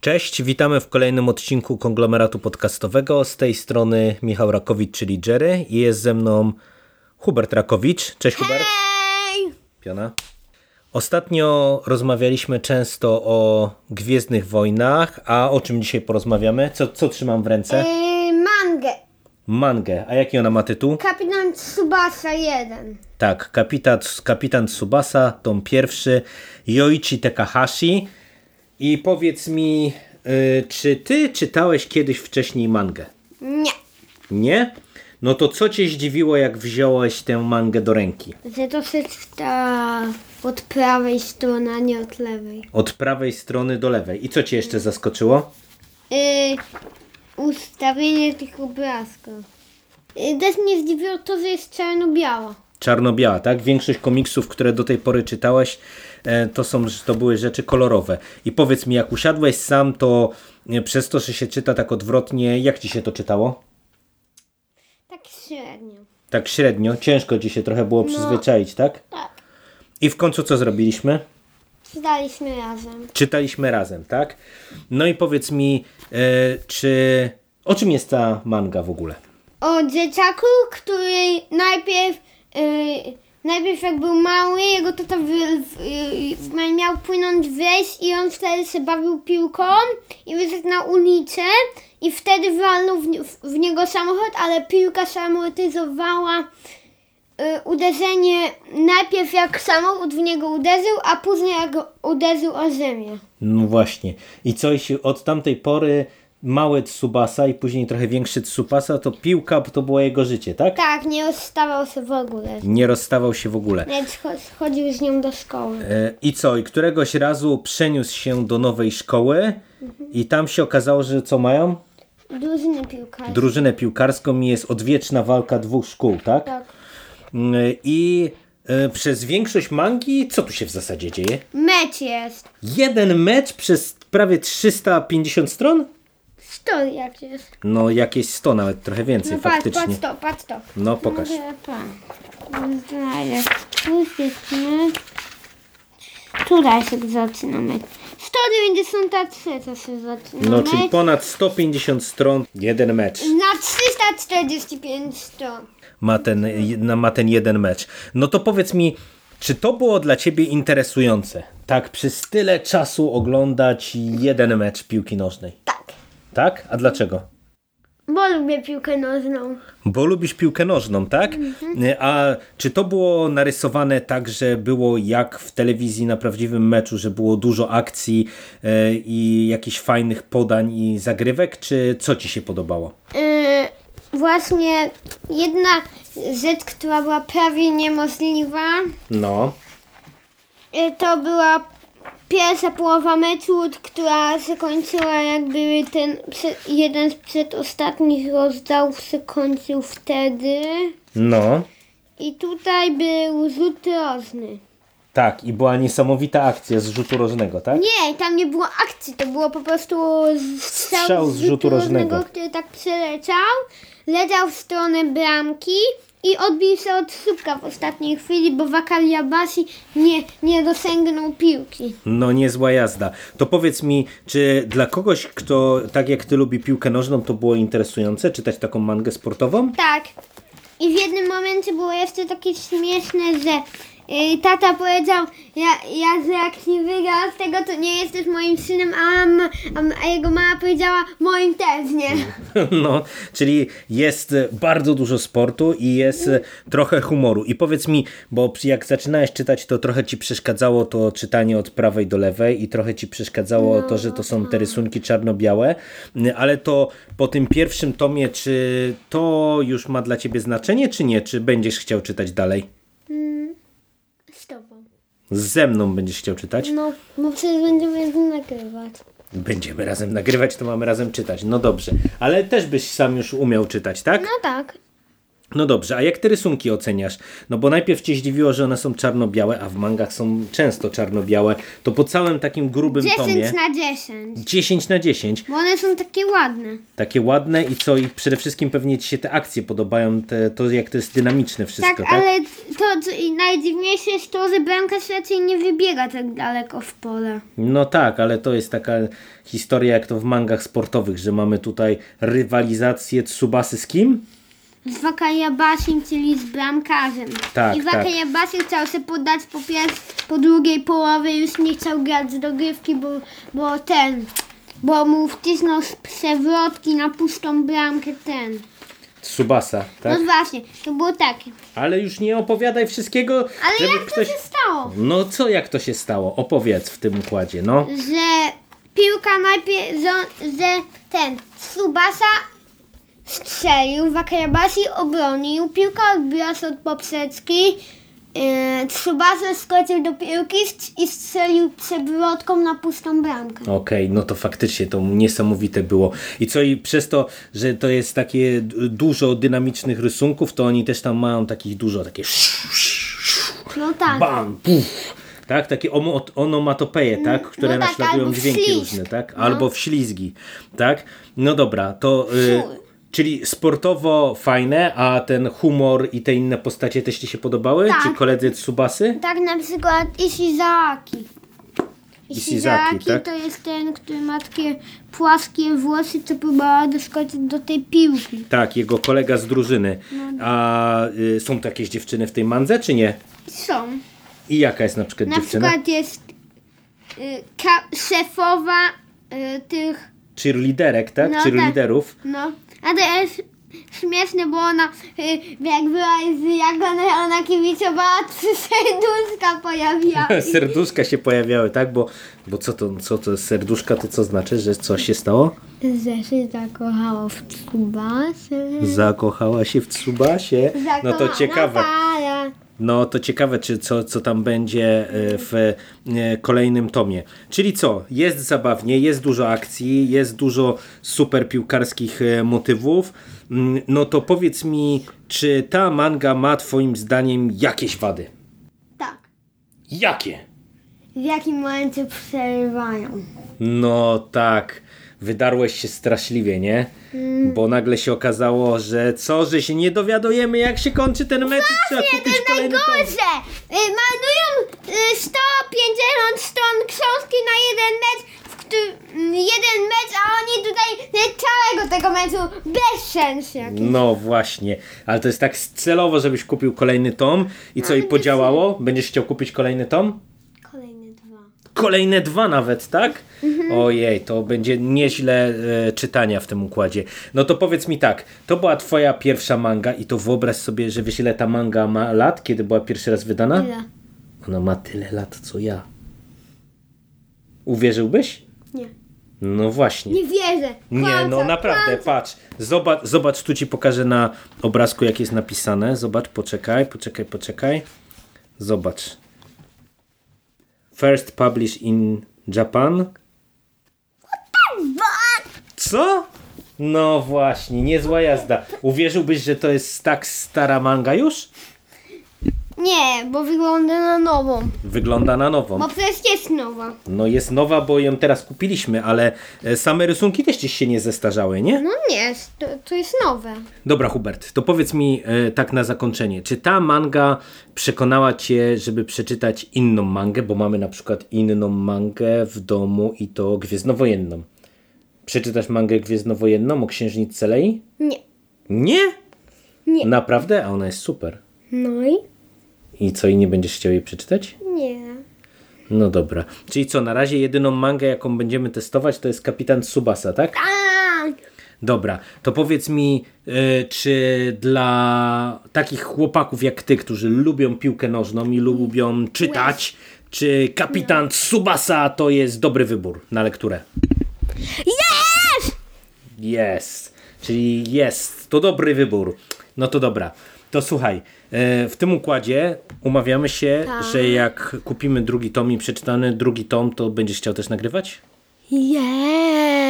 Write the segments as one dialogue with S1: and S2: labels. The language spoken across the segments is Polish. S1: Cześć, witamy w kolejnym odcinku konglomeratu podcastowego. Z tej strony Michał Rakowicz, czyli Jerry, i jest ze mną Hubert Rakowicz. Cześć, Hubert.
S2: Ej!
S1: Piona. Ostatnio rozmawialiśmy często o Gwiezdnych Wojnach, a o czym dzisiaj porozmawiamy? Co, co trzymam w ręce?
S2: Yy, mangę.
S1: Mangę. A jaki ona ma tytuł?
S2: Kapitan Tsubasa 1.
S1: Tak, kapitan, kapitan Tsubasa, tom pierwszy, Yoichi Takahashi. I powiedz mi, y, czy ty czytałeś kiedyś wcześniej mangę?
S2: Nie.
S1: Nie? No to co cię zdziwiło, jak wziąłeś tę mangę do ręki?
S2: Że to wszystko ta od prawej strony, a nie od lewej.
S1: Od prawej strony do lewej. I co cię jeszcze zaskoczyło?
S2: Yy, ustawienie tych obrazków. Yy, też mnie zdziwiło to, że jest czarno-biała.
S1: Czarno-biała, tak? Większość komiksów, które do tej pory czytałeś, e, to, są, to były rzeczy kolorowe. I powiedz mi, jak usiadłeś sam, to e, przez to, że się czyta tak odwrotnie, jak ci się to czytało?
S2: Tak średnio.
S1: Tak średnio, ciężko ci się trochę było przyzwyczaić, tak?
S2: Tak.
S1: I w końcu co zrobiliśmy?
S2: Zdaliśmy razem.
S1: Czytaliśmy razem, tak? No i powiedz mi, e, czy... O czym jest ta manga w ogóle?
S2: O dzieciaku, który najpierw, yy, najpierw jak był mały, jego tata w, w, yy, miał płynąć w rejs i on wtedy się bawił piłką i wyszedł na ulicę i wtedy walnął w, w, w niego samochód, ale piłka samolotyzowała yy, uderzenie najpierw jak samochód w niego uderzył, a później jak uderzył o ziemię.
S1: No właśnie. I coś od tamtej pory mały Tsubasa i później trochę większy Tsubasa, to piłka to było jego życie, tak?
S2: Tak, nie rozstawał się w ogóle.
S1: Nie rozstawał się w ogóle.
S2: Nawet cho- chodził z nią do szkoły.
S1: E, I co? I któregoś razu przeniósł się do nowej szkoły i tam się okazało, że co mają?
S2: Drużyny piłkarskiej.
S1: Drużynę piłkarską i jest odwieczna walka dwóch szkół, tak?
S2: Tak.
S1: Mm, I e, przez większość mangi, co tu się w zasadzie dzieje?
S2: Mecz jest.
S1: Jeden mecz przez prawie 350 stron?
S2: Sto jak jest.
S1: No jakieś 100 nawet, trochę więcej
S2: No patrz,
S1: faktycznie.
S2: patrz to, patrz to.
S1: No pokaż.
S2: Mogę pan. Znajdę. Tu jest mecz. Tutaj się zaczyna mecz. 193 to się zaczyna
S1: No,
S2: mecz.
S1: czyli ponad 150 stron, jeden mecz
S2: Na 345 stron.
S1: ma ten, na- ma ten jeden mecz. No to powiedz mi, czy to było dla Ciebie interesujące? Tak, przez tyle czasu oglądać jeden mecz piłki nożnej.
S2: Tak.
S1: Tak? A dlaczego?
S2: Bo lubię piłkę nożną.
S1: Bo lubisz piłkę nożną, tak? A czy to było narysowane tak, że było jak w telewizji na prawdziwym meczu, że było dużo akcji e, i jakichś fajnych podań i zagrywek, czy co Ci się podobało?
S2: Yy, właśnie jedna rzecz, która była prawie niemożliwa,
S1: No,
S2: Y, To była pierwsza połowa meczu, która się kończyła jakby ten prze- jeden z przedostatnich rozdziałów się kończył wtedy.
S1: no.
S2: I tutaj był rzut rożny.
S1: Tak, i była niesamowita akcja z rzutu rożnego, tak?
S2: Nie, tam nie było akcji, to było po prostu z- strzał,
S1: Strzał z rzutu rożnego.
S2: który tak przeleciał, leciał w stronę bramki i odbił się od słupka w ostatniej chwili, bo Wakariabasi nie, nie dosięgnął piłki.
S1: No niezła jazda. To powiedz mi, czy dla kogoś, kto tak jak ty lubi piłkę nożną, to było interesujące czytać taką mangę sportową?
S2: Tak. I w jednym momencie było jeszcze takie śmieszne, że y, tata powiedział, ja, ja że jak nie wygra z tego, to nie jesteś moim synem, a, m- a, m- a jego mama powiedziała, moim też nie.
S1: No, czyli jest e, bardzo dużo sportu i jest e, trochę humoru. I powiedz mi, bo przy- jak zaczynałeś czytać, to trochę ci przeszkadzało to czytanie od prawej do lewej i trochę ci przeszkadzało to, że to są te rysunki czarno-białe, N- ale to po tym pierwszym tomie, czy to już ma dla ciebie znaczenie, czy nie? Czy będziesz chciał czytać dalej?
S2: Z tobą.
S1: Ze mną będziesz chciał czytać?
S2: No, bo przecież będziemy nagrywać.
S1: Będziemy razem nagrywać, to mamy razem czytać. No dobrze, ale też byś sam już umiał czytać, tak?
S2: No tak.
S1: No dobrze, a jak te rysunki oceniasz? No bo najpierw cię zdziwiło, że one są czarno-białe, a w mangach są często czarno-białe. To po całym takim grubym
S2: 10
S1: tomie...
S2: na 10.
S1: 10 na 10.
S2: Bo one są takie ładne.
S1: Takie ładne i co? I przede wszystkim pewnie ci się te akcje podobają, te, to jak to jest dynamiczne wszystko,
S2: Tak,
S1: tak?
S2: ale to co i najdziwniejsze jest to, że bramkarz raczej nie wybiega tak daleko w pole.
S1: No tak, ale to jest taka historia jak to w mangach sportowych, że mamy tutaj rywalizację Tsubasy z kim?
S2: Z Wakayabasim, czyli z bramkarzem.
S1: Tak,
S2: I Wakayabasi chciał się poddać po, pier- po drugiej połowie, już nie chciał grać z dogrywki, bo, bo ten, bo mu wcisnął z przewrotki na pustą bramkę ten.
S1: Tsubasa, tak?
S2: No właśnie, to było takie.
S1: Ale już nie opowiadaj wszystkiego,
S2: Ale
S1: żeby
S2: jak
S1: ktoś...
S2: to się stało?
S1: No co, jak to się stało? Opowiedz w tym układzie, no.
S2: Że piłka najpierw, że, że ten, Subasa strzelił, Wakayabasi obronił, piłka odbiła się od poprzeczki, yy, Tsubasa skoczył do piłki st- i strzelił przewrotką na pustą bramkę.
S1: Okej, no to faktycznie to niesamowite było. I co i przez to, że to jest takie d- dużo dynamicznych rysunków, to oni też tam mają takich dużo, takie
S2: No tak.
S1: bam, puf, tak? Takie omo- onomatopeje, tak? Które
S2: no tak,
S1: naśladują
S2: albo
S1: dźwięki
S2: wślizg,
S1: różne, tak?
S2: no.
S1: Albo wślizgi, tak? No dobra, to... Y-
S2: Fuj.
S1: Czyli sportowo fajne, a ten humor i te inne postacie też Ci się podobały?
S2: Tak.
S1: Czy koledzy Tsubasy?
S2: Tak na przykład Ishizaki.
S1: Ishizaki, tak?
S2: to jest ten, który ma takie płaskie włosy, co próbowała doskoczyć do tej piłki.
S1: Tak, jego kolega z drużyny.
S2: No.
S1: A y, są tu jakieś dziewczyny w tej mandze, czy nie?
S2: Są.
S1: I jaka jest na przykład
S2: Na
S1: dziewczyna?
S2: przykład jest y, ka- szefowa y, tych,
S1: Czy liderek, tak?
S2: No
S1: Czy
S2: tak.
S1: liderów?
S2: no. A to jest śmieszne, bo ona, y, jak była z Jagoną, ona kibicowała, trzy serduszka pojawiła.
S1: Serduszka się pojawiały, tak? Bo, bo co to, co to jest serduszka, to co znaczy, że coś się stało?
S2: Że się zakochała w Tsubasie.
S1: Zakochała się w Tsubasie. No to ciekawe.
S2: tak.
S1: No to ciekawe, czy co, co tam będzie e, w e, kolejnym tomie. Czyli co? Jest zabawnie, jest dużo akcji, jest dużo super piłkarskich e, motywów. Mm, No to powiedz mi, czy ta manga ma Twoim zdaniem jakieś wady?
S2: Tak.
S1: Jakie?
S2: W jakim momencie przerywają?
S1: No tak, wydarłeś się straszliwie, nie? Bo nagle się okazało, że co, że się nie dowiadujemy, jak się kończy ten mecz i trzeba kupić kolejny tom.
S2: Najgorsze! Y, Marnują y, 150 stron książki na jeden mecz, w którym mm, jeden mecz, a oni tutaj nie całego tego meczu bez sensu. jakiś.
S1: No właśnie, ale to jest tak celowo, żebyś kupił kolejny tom i co, i podziałało? Będziesz chciał kupić kolejny tom?
S2: Kolejne dwa.
S1: Kolejne dwa nawet, tak? Ojej, to będzie nieźle e, czytania w tym układzie. No to powiedz mi tak, to była twoja pierwsza manga i to wyobraź sobie, że wiesz ile ta manga ma lat, kiedy była pierwszy raz wydana?
S2: Ile?
S1: Ona ma tyle lat co ja. Uwierzyłbyś?
S2: Nie.
S1: No właśnie.
S2: Nie wierzę.
S1: Nie, no
S2: Kłamca,
S1: naprawdę,
S2: kłamca.
S1: patrz. Zobacz, zobacz, tu ci pokażę na obrazku, jak jest napisane. Zobacz, poczekaj, poczekaj, poczekaj. Zobacz. First published in Japan. Co? No właśnie, niezła jazda. Uwierzyłbyś, że to jest tak stara manga już?
S2: Nie, bo wygląda na nową.
S1: Wygląda na nową.
S2: Bo przecież jest nowa.
S1: No jest nowa, bo ją teraz kupiliśmy, ale e, same rysunki też gdzieś się nie zestarzały, nie?
S2: No nie, to, to jest nowe.
S1: Dobra, Hubert, to powiedz mi e, tak na zakończenie, czy ta manga przekonała cię, żeby przeczytać inną mangę, bo mamy na przykład inną mangę w domu i to Gwiezdnowojenną. Przeczytasz mangę Gwiezdnowojenną o Księżniczce Lei?
S2: Nie.
S1: Nie?
S2: Nie.
S1: Naprawdę? A ona jest super.
S2: No i?
S1: I co, i nie będziesz chciał jej przeczytać?
S2: Nie.
S1: No dobra. Czyli co, na razie jedyną mangę, jaką będziemy testować, to jest Kapitan Tsubasa, tak?
S2: Tak!
S1: Dobra, to powiedz mi, y, czy dla takich chłopaków jak ty, którzy lubią piłkę nożną i lubią czytać, czy kapitan Subasa to jest dobry wybór na lekturę? Jest! Czyli jest, to dobry wybór. No to dobra. To słuchaj, e, w tym układzie umawiamy się, że jak kupimy drugi tom i przeczytany drugi tom, to będziesz chciał też nagrywać?
S2: Yes!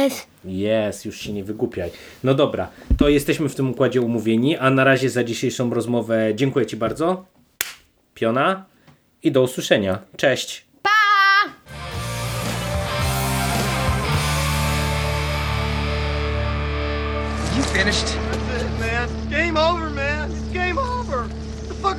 S2: Jest.
S1: Jest, już się nie wygłupiaj. No dobra, to jesteśmy w tym układzie umówieni, a na razie za dzisiejszą rozmowę dziękuję Ci bardzo. Piona i do usłyszenia. Cześć.
S3: You finished?
S4: That's it, man. Game over, man. It's game over. The fuck